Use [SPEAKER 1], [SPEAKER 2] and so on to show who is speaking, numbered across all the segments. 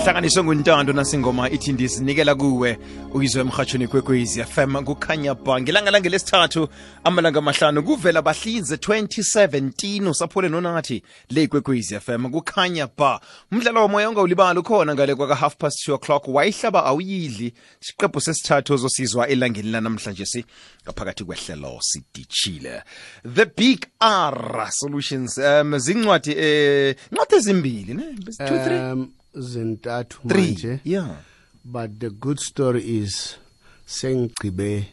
[SPEAKER 1] sihlanganiswe nguntando nasingoma ithi ndizinikela kuwe uyizwe emhatshweni kwekwezi fm kukhanya ba ngelanga lange lesithathu amalanga amahlanu kuvela bahlinze 2017 usaphule nonathi le kwekwezi fm kukhanya ba umdlalo womoya ongawulibali ukhona ngale kwaka-half past 2 o'clock wayihlaba awuyidli siqephu sesithathu ozosizwa elangeni lanamhlanje si ngaphakathi kwehlelo sidishile the big r solutions um zincwadi eh incwadi ezimbili ne two three
[SPEAKER 2] um zintathu
[SPEAKER 1] Three,
[SPEAKER 2] manje
[SPEAKER 1] yeah
[SPEAKER 2] but the good story is sengigcibe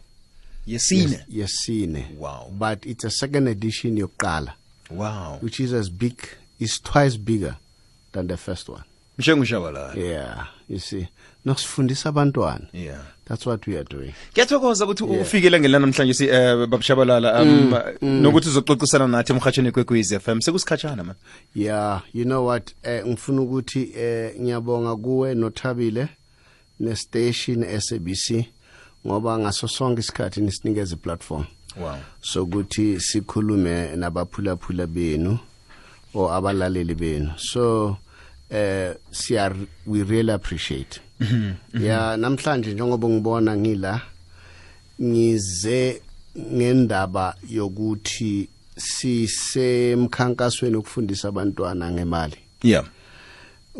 [SPEAKER 1] yesine
[SPEAKER 2] yesine
[SPEAKER 1] Wow.
[SPEAKER 2] but it's a second edition yokuqala
[SPEAKER 1] wow
[SPEAKER 2] which is as big is twice bigger than the first one
[SPEAKER 1] mshengushabalala
[SPEAKER 2] yeah you see nosifundisa abantwana
[SPEAKER 1] yeah
[SPEAKER 2] that's what we are doing
[SPEAKER 1] kuyathokoza ukuthi ufikele ngela namhlanje si eh, babushabalala um, nokuthi uzoxoxisana nathi emhatshweni kwekwez f m sekusikhatshana man
[SPEAKER 2] yeah you know what eh ngifuna ukuthi eh ngiyabonga kuwe nothabile nestation SABC ngoba ngaso sonke isikhathi nisinikeza iplatform
[SPEAKER 1] wow
[SPEAKER 2] sokuthi sikhulume nabaphulaphula benu or abalaleli benu so eh siya we really appreciate yeah namhlanje njengoba ngibona ngila ngize ngendaba yokuthi sisemkhankasweni ukufundisa abantwana ngemali
[SPEAKER 1] yeah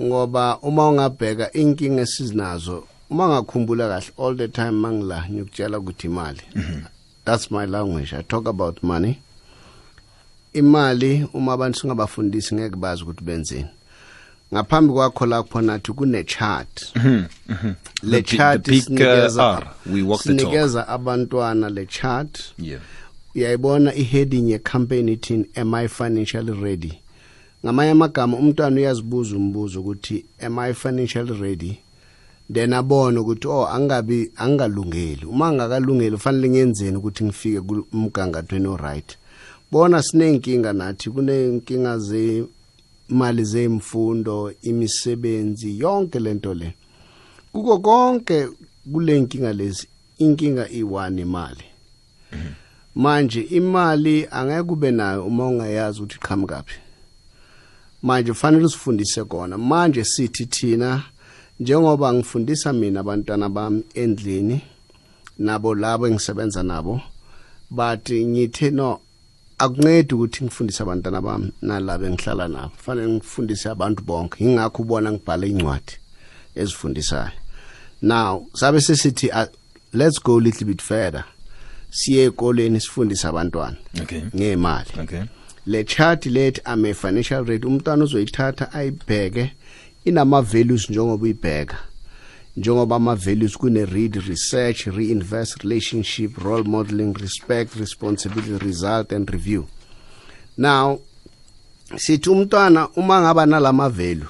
[SPEAKER 2] ngoba uma ungabheka inkinga esizinazo uma ngakhumbula kahle all the time mangila ngikutshela ukuthi imali that's my language i talk about money imali uma abantu singabafundisi ngeke bazi ukuthi benzeni ngaphambi kwakho lapho nathi kune-chart le
[SPEAKER 1] Mhm, The bi-
[SPEAKER 2] chart
[SPEAKER 1] the big, uh,
[SPEAKER 2] sinikeza
[SPEAKER 1] R, we walk the talk.
[SPEAKER 2] sinikeza abantwana le chart
[SPEAKER 1] yeah
[SPEAKER 2] uyayibona i-heading ye-campaign ithini am i financially ready ngamanye amagama umntwana uyazibuza umbuzo ukuthi am i financially ready then abone ukuthi oh angabi angalungeli uma angakalungeli ufanele ngiyenzeni ukuthi ngifike kumgangathweni oright bona siney'nkinga nathi kuney'nkinga zemali zemfundo imisebenzi yonke lento le kuko konke kule nkinga lezi inkinga iwani imali manje imali angeke ube nayo uma ungayazi ukuthi qhamukaphi manje kufanele usifundise kona manje sithi thina njengoba ngifundisa mina abantwana bami endlini nabo labo engisebenza nabo but ngithe no akuncedi ukuthi ngifundise abantwana bami nalabo engihlala nabo fanele ngifundise abantu bonke ingakho ubona ngibhala incwadi ezifundisayo now sabe sesithi uh, let's go a little bit further siye ekoleni sifundise abantwana
[SPEAKER 1] okay
[SPEAKER 2] ngemali
[SPEAKER 1] okay
[SPEAKER 2] le chart let am a financial rate umntwana uzoyithatha ayibheke inama values njengoba uyibheka njengoba ama values kune read research reinvest relationship role modeling respect responsibility result and review now sithi umntwana uma ngaba nalama value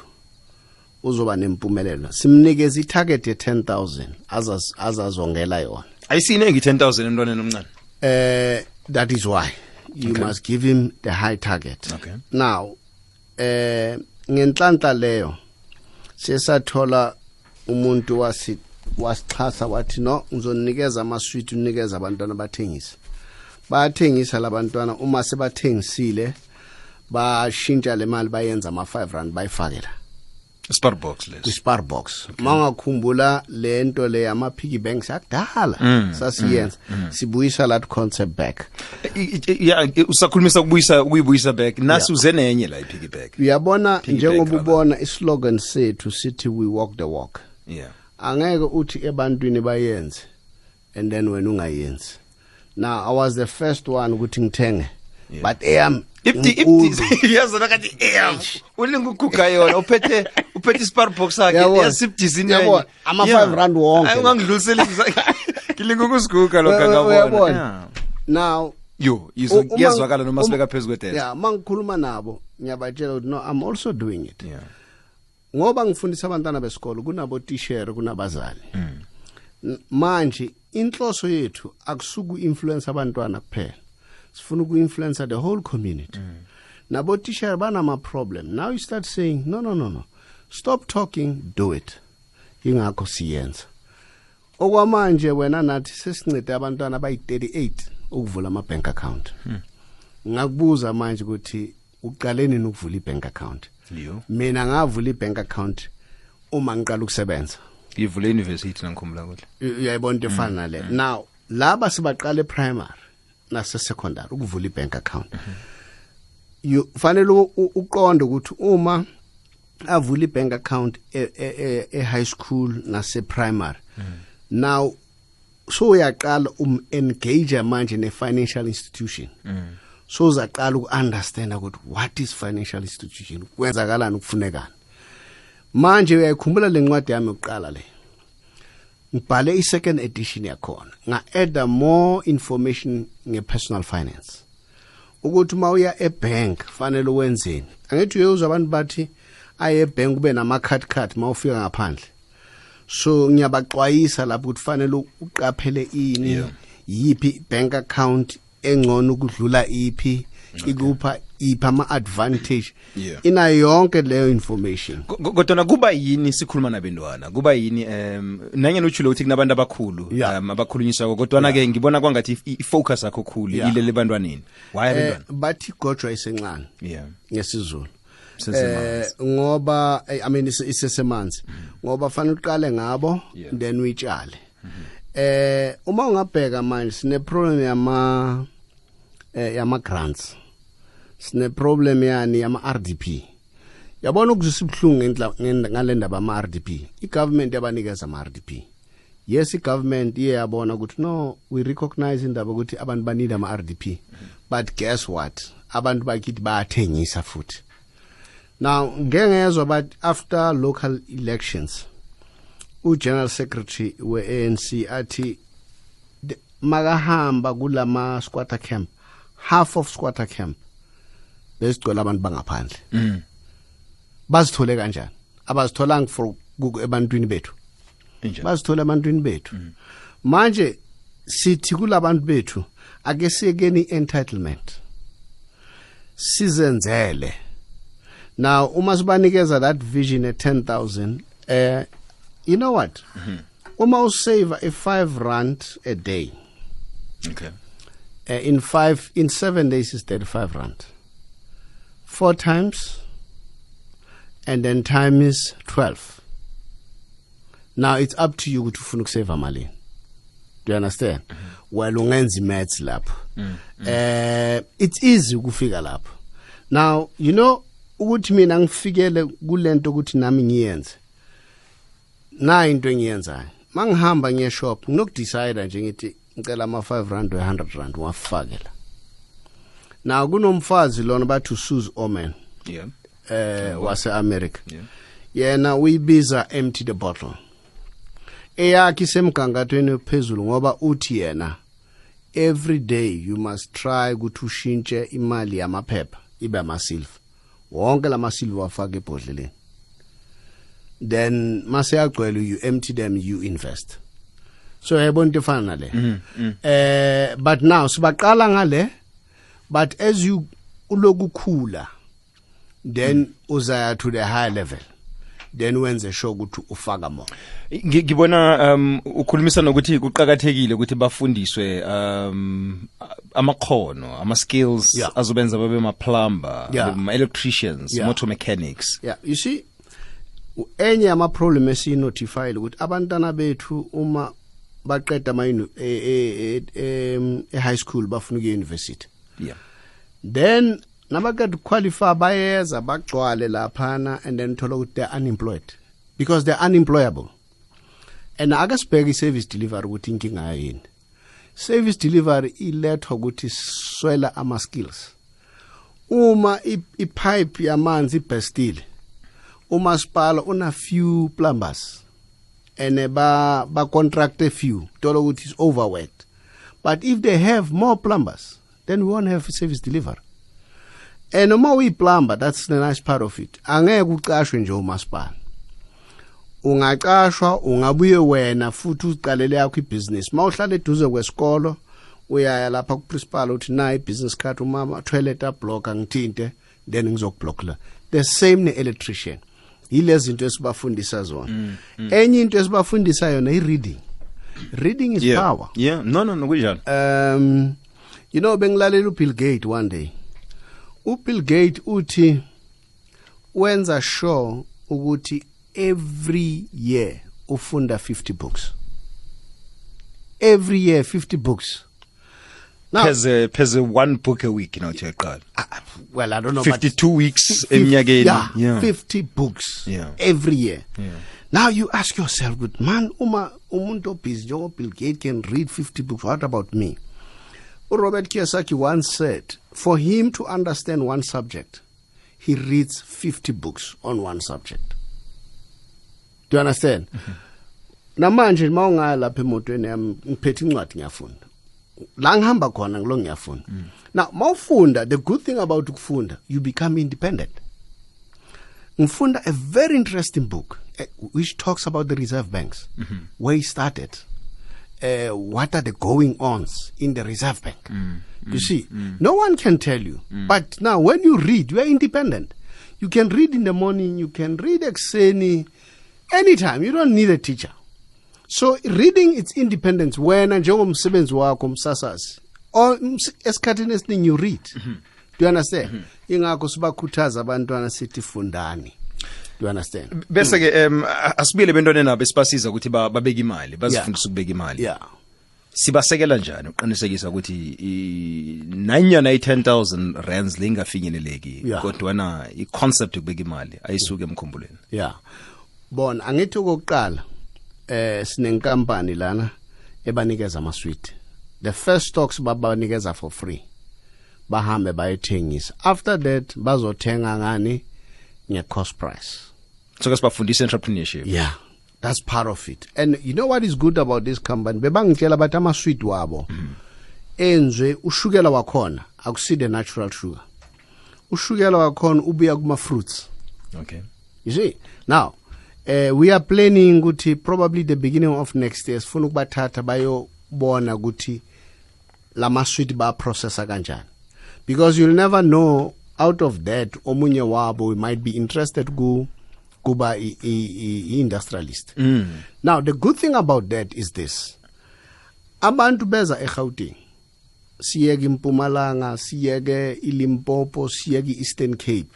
[SPEAKER 2] uzoba nempumelelo simnikeza itarget ye 10000 azaz- azazongela yona
[SPEAKER 1] ayisinengi 10000 emntwaneni omncane
[SPEAKER 2] Uh, that is why you
[SPEAKER 1] Okay.
[SPEAKER 2] must give him the high target.
[SPEAKER 1] Okay.
[SPEAKER 2] Now, eh ngenhlanhla leyo sesathola umuntu wasi wasixhasa wathi no ngizonikeza ama-sweet unikeza abantwana bathengise bayathengisa labantwana uma sebathengisile bashintsha le mali bayenza ama-five rand bayifake la
[SPEAKER 1] spar box leso
[SPEAKER 2] kwi-sparbox uma ungakhumbula le nto le ama-piggy banks akudala
[SPEAKER 1] Mm.
[SPEAKER 2] sasiyenza sibuyisa lathi concept back
[SPEAKER 1] I- i- yeah i- usakhulumisa ukubuyisa ukuyibuyisa back nasi uze nenye la i-piggy back
[SPEAKER 2] uyabona
[SPEAKER 1] Piggy bank,
[SPEAKER 2] njengoba
[SPEAKER 1] rather.
[SPEAKER 2] ubona islogan sethu sithi we walk the walk
[SPEAKER 1] yeah
[SPEAKER 2] angeke uthi ebantwini bayenze and then wena ungayenzi now i was the first one ukuthi ngithenge
[SPEAKER 1] Yeah.
[SPEAKER 2] but eyam
[SPEAKER 1] Ipti
[SPEAKER 2] inkulu.
[SPEAKER 1] ipti yazona kathi eh ulinga ukuguga yona uphethe uphethe isparbox yakhe
[SPEAKER 2] Yabona.
[SPEAKER 1] yasipdizini
[SPEAKER 2] Yabona, ama five rand wonke.
[SPEAKER 1] Ungangidluliseli ngilinga ukuziguga
[SPEAKER 2] We-
[SPEAKER 1] lokho
[SPEAKER 2] we- uyabona.
[SPEAKER 1] ngabona. Yeah.
[SPEAKER 2] now
[SPEAKER 1] Yo,
[SPEAKER 2] u-
[SPEAKER 1] izwa
[SPEAKER 2] uma-
[SPEAKER 1] yazwakala noma
[SPEAKER 2] um-
[SPEAKER 1] sibeka phezulu kwedesk.
[SPEAKER 2] yeah mangikhuluma nabo ngiyabatshela ukuthi no i'm also doing it
[SPEAKER 1] Yeah.
[SPEAKER 2] ngoba ngifundisa abantwana besikolo kunabo tishera kunabazali N- manje inhloso yethu akusuku influence abantwana kuphela sifuna uku influence the whole community
[SPEAKER 1] Mm.
[SPEAKER 2] nabo tishera banama problem now you start saying no no no no stop talking do it ingakho siyenza okwamanje wena nathi sesincede abantwana bayi38 ukuvula ama bank account ngakubuza manje ukuthi uqaleni ukuvula i bank account
[SPEAKER 1] Yo.
[SPEAKER 2] mina ngavula i-bank account uma ngiqala ukusebenza
[SPEAKER 1] ivule iuniversity nangikhumbula kuhle
[SPEAKER 2] U- uyayibona into efana nale now laba sibaqale primary nase secondary ukuvula ibank account you fanele u- u- uqonde ukuthi uma avula ibank account e- e- e- e high school nase primary now so uyaqala um engage manje ne financial institution so uzaqala uku understand ukuthi what is financial institution kwenzakalani kufunekani manje uyayikhumbula lencwadi yami yokuqala le ngibhale i-second edition yakhona nga-adda more information nge-personal finance ukuthi uma uya ebhenki fanele wenzeni angithi uyeuzwa abantu bathi aye ebhenki ube nama-card card ma ufika ngaphandle so ngiyabaxwayisa lapho ukuthi fanele uqaphele ini
[SPEAKER 1] Yeah.
[SPEAKER 2] yiphi bank account engcono ukudlula iphi ikupha iphi ama-advantage
[SPEAKER 1] Yeah.
[SPEAKER 2] inayo yonke leyo information
[SPEAKER 1] Ko- ko- kodwa na kuba yini sikhuluma nabantwana kuba yini um nanyena utshulo ukuthi kunabantu abakhulu
[SPEAKER 2] Yeah.
[SPEAKER 1] um abakhulunyiswako kodwana-ke ngibona kwangathi i- i-focus yakho khulu
[SPEAKER 2] Yeah.
[SPEAKER 1] ilele ebantwaneni why
[SPEAKER 2] eh,
[SPEAKER 1] abantwana
[SPEAKER 2] bathi gojwa isencane
[SPEAKER 1] yeah
[SPEAKER 2] ngesizulu
[SPEAKER 1] Sisemanzi.
[SPEAKER 2] Eh, ngoba eh, i mean ise- isesemanzi ngoba fanele uqale ngabo
[SPEAKER 1] Yeah.
[SPEAKER 2] then uyitshale eh uma ungabheka manje sine problem yama eh, yama grants sine problem yani yama RDP yabona ukuzisa ibhlungu ngendla- ngenda- ngale ndaba ama RDP igovernment yabanikeza ama RDP yes igovernment iye yabona ukuthi no we recognize indaba ukuthi abantu banida ama RDP but guess what abantu bakithi bayathengisa futhi now ngeke ngezwe but after local elections ugeneral secretary we-anc athi the- makahamba kulama squatter camp half of squatter camp bezigcwele abantu bangaphandle
[SPEAKER 1] Mm.
[SPEAKER 2] bazithole kanjani abazitholanga for ku- ebantwini bethu
[SPEAKER 1] Injalo.
[SPEAKER 2] bazithola ebantwini bethu manje sithi kulabantu bethu ake siyekeni entitlement sizenzele now uma sibanikeza that vision at 10000 eh you know what uma usave a 5 rand a day
[SPEAKER 1] okay
[SPEAKER 2] uh, in 5 in 7 days is 35 rand four times and then time is 12 now it's up to you ukuthi ufuna ukusave malini do you understand well ungenza imaths lapho eh it's easy ukufika lapho now you know ukuthi mina ngifikele kulento ukuthi nami ngiyenze na into engiyenzayo mangihamba ngiye shop nginokudecide nje ngithi ngicela ama 5 rand we 100 rand wafake la now kunomfazi lona bathi Suze Omen
[SPEAKER 1] yeah
[SPEAKER 2] eh wase America
[SPEAKER 1] yeah
[SPEAKER 2] yena uyibiza empty the bottle eyakhe isemgangathweni ophezulu ngoba uthi yena every day you must try ukuthi ushintshe imali yamaphepha ibe amasilva wonke la masilva afake ebhodleleni then mase yagcwele you empty them you invest so yayibona into efana nale eh but now sibaqala ngale but as you ulokukhula then uzaya to the higher level then wenze sure ukuthi ufaka more
[SPEAKER 1] Ngi- ngibona um ukhulumisa nokuthi kuqakathekile ukuthi bafundiswe um a- amakhono ama skills
[SPEAKER 2] Yeah.
[SPEAKER 1] azobenza babe ma plumber
[SPEAKER 2] Yeah.
[SPEAKER 1] ma electricians
[SPEAKER 2] Yeah.
[SPEAKER 1] motor mechanics
[SPEAKER 2] yeah you see u- enye yama problem esinotifyile ukuthi abantwana bethu uma baqeda ama uni- e- e- e- em, e high school bafuna ukuya university
[SPEAKER 1] yeah
[SPEAKER 2] then nabaqeda qualify bayeza bagcwale laphana and then thola ukuthi they're unemployed because they're unemployable and ake sibheke i-service delivery ukuthi inkinga yayo yini service delivery ilethwa ukuthi swela ama-skills uma i- ipipe yamanzi ibhestile umasipala una few plumbers and ba ba contract a few thola ukuthi is overworked but if they have more plumbers then we won't have service delivery and uma uyiplumber that's the nice part of it angeke uqashwe nje umasipala ungaqashwa ungabuye wena futhi uziqalele yakho ibhizinisi ma uhlala eduze kwesikolo uyaya lapha kuprincipal uthi na ibhizinisi card umama toilet ablock angithinte then ngizokublockla the same ne-electrician yile zinto esibafundisa zona enye into esibafundisa yona i-reading reading is
[SPEAKER 1] yeah
[SPEAKER 2] power
[SPEAKER 1] yeah no no no kunjalo
[SPEAKER 2] um you know bengilalela uBill Gates one day uBill Gates uthi wenza sure ukuthi every year ufunda 50 books every year 50 books now
[SPEAKER 1] There's a, there's a one book a week, you know, to
[SPEAKER 2] I- well i don't know but
[SPEAKER 1] 52 weeks
[SPEAKER 2] Fif-
[SPEAKER 1] eminyakeni.
[SPEAKER 2] yeah,
[SPEAKER 1] Yeah.
[SPEAKER 2] 50 books
[SPEAKER 1] Yeah.
[SPEAKER 2] every year now you ask yourself good man uma umuntu obhizi njengobill gate can read 50 books what about me urobert kiyosaki once said for him to understand one subject he reads 50 books on one subject do you understand namanje uma ungaya lapha emotweni yami ngiphethe incwadi ngiyafunda la ngihamba khona ngilo ngiyafunda now uma ufunda the good thing about ukufunda you become independent ngifunda a very interesting book eh, which talks about the reserve banks where it started uh, what are the going ons in the reserve bank you see no one can tell you but now when you read you are independent you can read in the morning you can read exeni anytime you don't need a teacher so reading its independence wena njengomsebenzi wakho umsasasi or ms- esikhathini esiningi you read do you understand ingakho sibakhuthaza abantwana sithi fundani do you understand
[SPEAKER 1] bese ke um asibile bentwana nabo esibasiza ukuthi ba- babeke imali bazifundise ukubeka imali
[SPEAKER 2] yeah
[SPEAKER 1] sibasekela njani uqinisekisa ukuthi i- nanyana i-10 000 rands le ingafinyeleleki
[SPEAKER 2] Yeah.
[SPEAKER 1] kodwana i-concept yokubeka imali ayisuke emkhumbulweni
[SPEAKER 2] yeah bona angithi okokuqala eh sinenkampani lana ebanikeza ama sweet the first stocks babanikeza for free bahambe bayethengisa after that bazothenga ngani nge cost price
[SPEAKER 1] soke sibafundise entrepreneurship
[SPEAKER 2] yeah that's part of it and you know what is good about this company bebangitshela bathi ama-sweet wabo enze ushukela wakhona akusi the natural sugar ushukela wakhona ubuya kuma-fruits
[SPEAKER 1] okay
[SPEAKER 2] you see now uh, we are planning ukuthi probably the beginning of next year sifuna ukubathatha bayobona ukuthi lama-sweet baprocessa kanjani because you'll never know out of that omunye wabo we might be interested ku kuba i- i- i- i-industrialist now the good thing about that is this abantu beza egauteng siyeke impumalanga siyeke ilimpopo siyeke i-eastern cape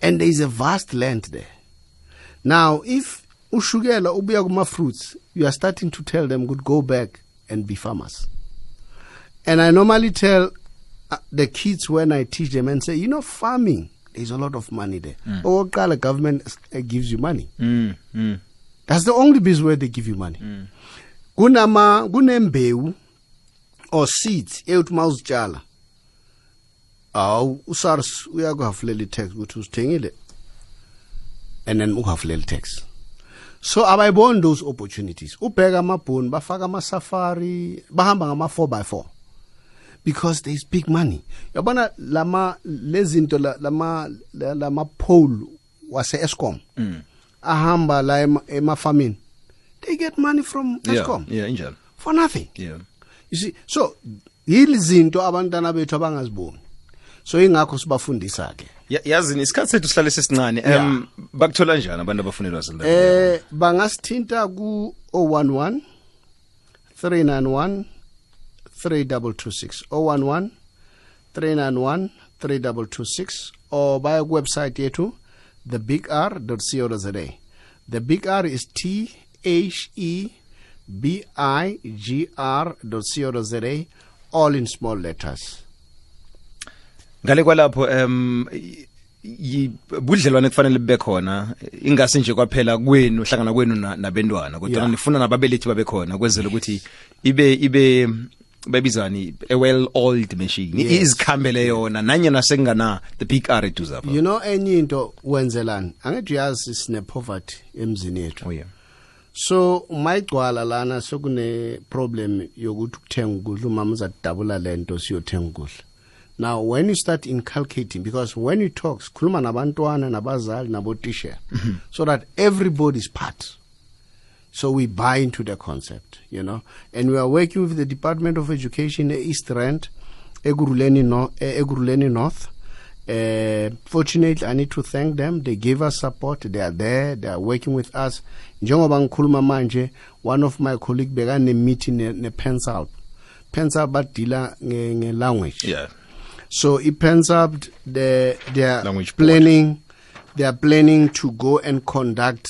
[SPEAKER 2] and there is a vast land there now if ushukela ubuya kuma-fruits you are starting to tell them could go back and be farmers and i normally tell uh, the kids when i teach them and say you know farming there's a lot of money there okokuqala government uh, gives you money
[SPEAKER 1] mm, mm.
[SPEAKER 2] that's the only business where they give you money kunama kunembewu or seeds eyokuthi uma uzitshala awu usars uyakuhafulela i-tax ukuthi uzithengile and then uhafulela i-tax so abayiboni those opportunities ubheka amabhoni bafaka ama-safari bahamba ngama-four by four because there is big money yabona lama lezinto la- lama la- lama-pole wase-escom ahamba la ema- emafamini they get money from
[SPEAKER 1] yeah
[SPEAKER 2] escom
[SPEAKER 1] yeah injalo
[SPEAKER 2] for nothing
[SPEAKER 1] yeah
[SPEAKER 2] you see so yizinto abantwana bethu abangaziboni so ingakho sibafundisa ke
[SPEAKER 1] Ya- yazi isikhathi sethu sihlale sesincane um bakuthola njani abantu abafuna ilwazi lendaba?
[SPEAKER 2] eh bangasithinta ku 011 391 3226 011 391 3226 or baya kuwebsite yethu thebigr.co.za the big r is t h e b i g r.co.za all in small letters
[SPEAKER 1] ngale kwalapho um budlelwane kufanele bube khona ingasi nje kwaphela kwenu hlangana kwenu na- nabentwana kodwa
[SPEAKER 2] Yeah.
[SPEAKER 1] nifuna nababelethi babe khona kwenzela ukuthi ibe ibe babizani a well oiled machine
[SPEAKER 2] Yes.
[SPEAKER 1] izikhambele yona nanyana sekungana the big r eduze apha
[SPEAKER 2] you know enye into wenzelani angithi uyazi sine poverty emzini yethu
[SPEAKER 1] oh yeah
[SPEAKER 2] so mayigcwala lana sekune problem yokuthi ukuthenga ukudla umama uzadabula lento siyothenga ukudla now when you start inculcating because when you talk sikhuluma nabantwana nabazali nabotisha so that everybody's part so we buy into the concept you know and we are working with the department of education e-east rand ekuruleni no, eh, ekuruleni north uh, fortunately i need to thank them they gave us support they are there they are working with us njengoba ngikhuluma manje one of my colleague bekanemeeting ne-pensalp pensalp badila nge- nge-language
[SPEAKER 1] yeah
[SPEAKER 2] so iPensup they they are
[SPEAKER 1] Language board.
[SPEAKER 2] planning they are planning to go and conduct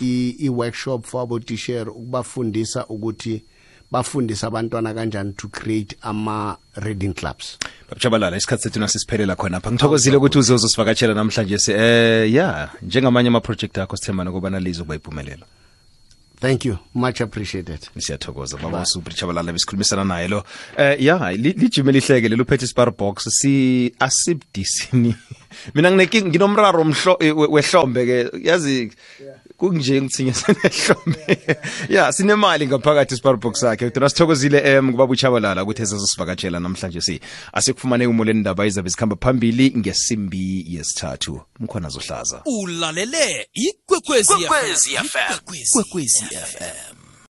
[SPEAKER 2] i- i-workshop for abotishere ukubafundisa ukuthi bafundise abantwana kanjani to create ama-reading clubs
[SPEAKER 1] babujabalala isikhathi sethu nasisiphelela khonapha ngithokozile ukuthi uze uzosivakatshela namhlanje se eh ya njengamanye amaproject akho sithembana kobana lizokuba yimpumelelo
[SPEAKER 2] thank you much appreciated
[SPEAKER 1] siyathokoza baba usubrichabalala besikhulumisana naye lo eh ya li- lijime lihleke lelo uphethe ispar box si asibdisini mina nginenkinga nginomraro omhlo- eh, we- wehlombe ke yazi kunje ngithinyesenehlombe ya sinemali ngaphakathi ispar box yakhe kodwa sithokozile em kubaba uchabalala ukuthi ezazosivakatshela namhlanje si asekufumane umoleni indaba izabe zikhamba phambili ngesimbi yesithathu mkhona zohlaza
[SPEAKER 3] ulalele ikwekwezi fm Ikwekwezi fm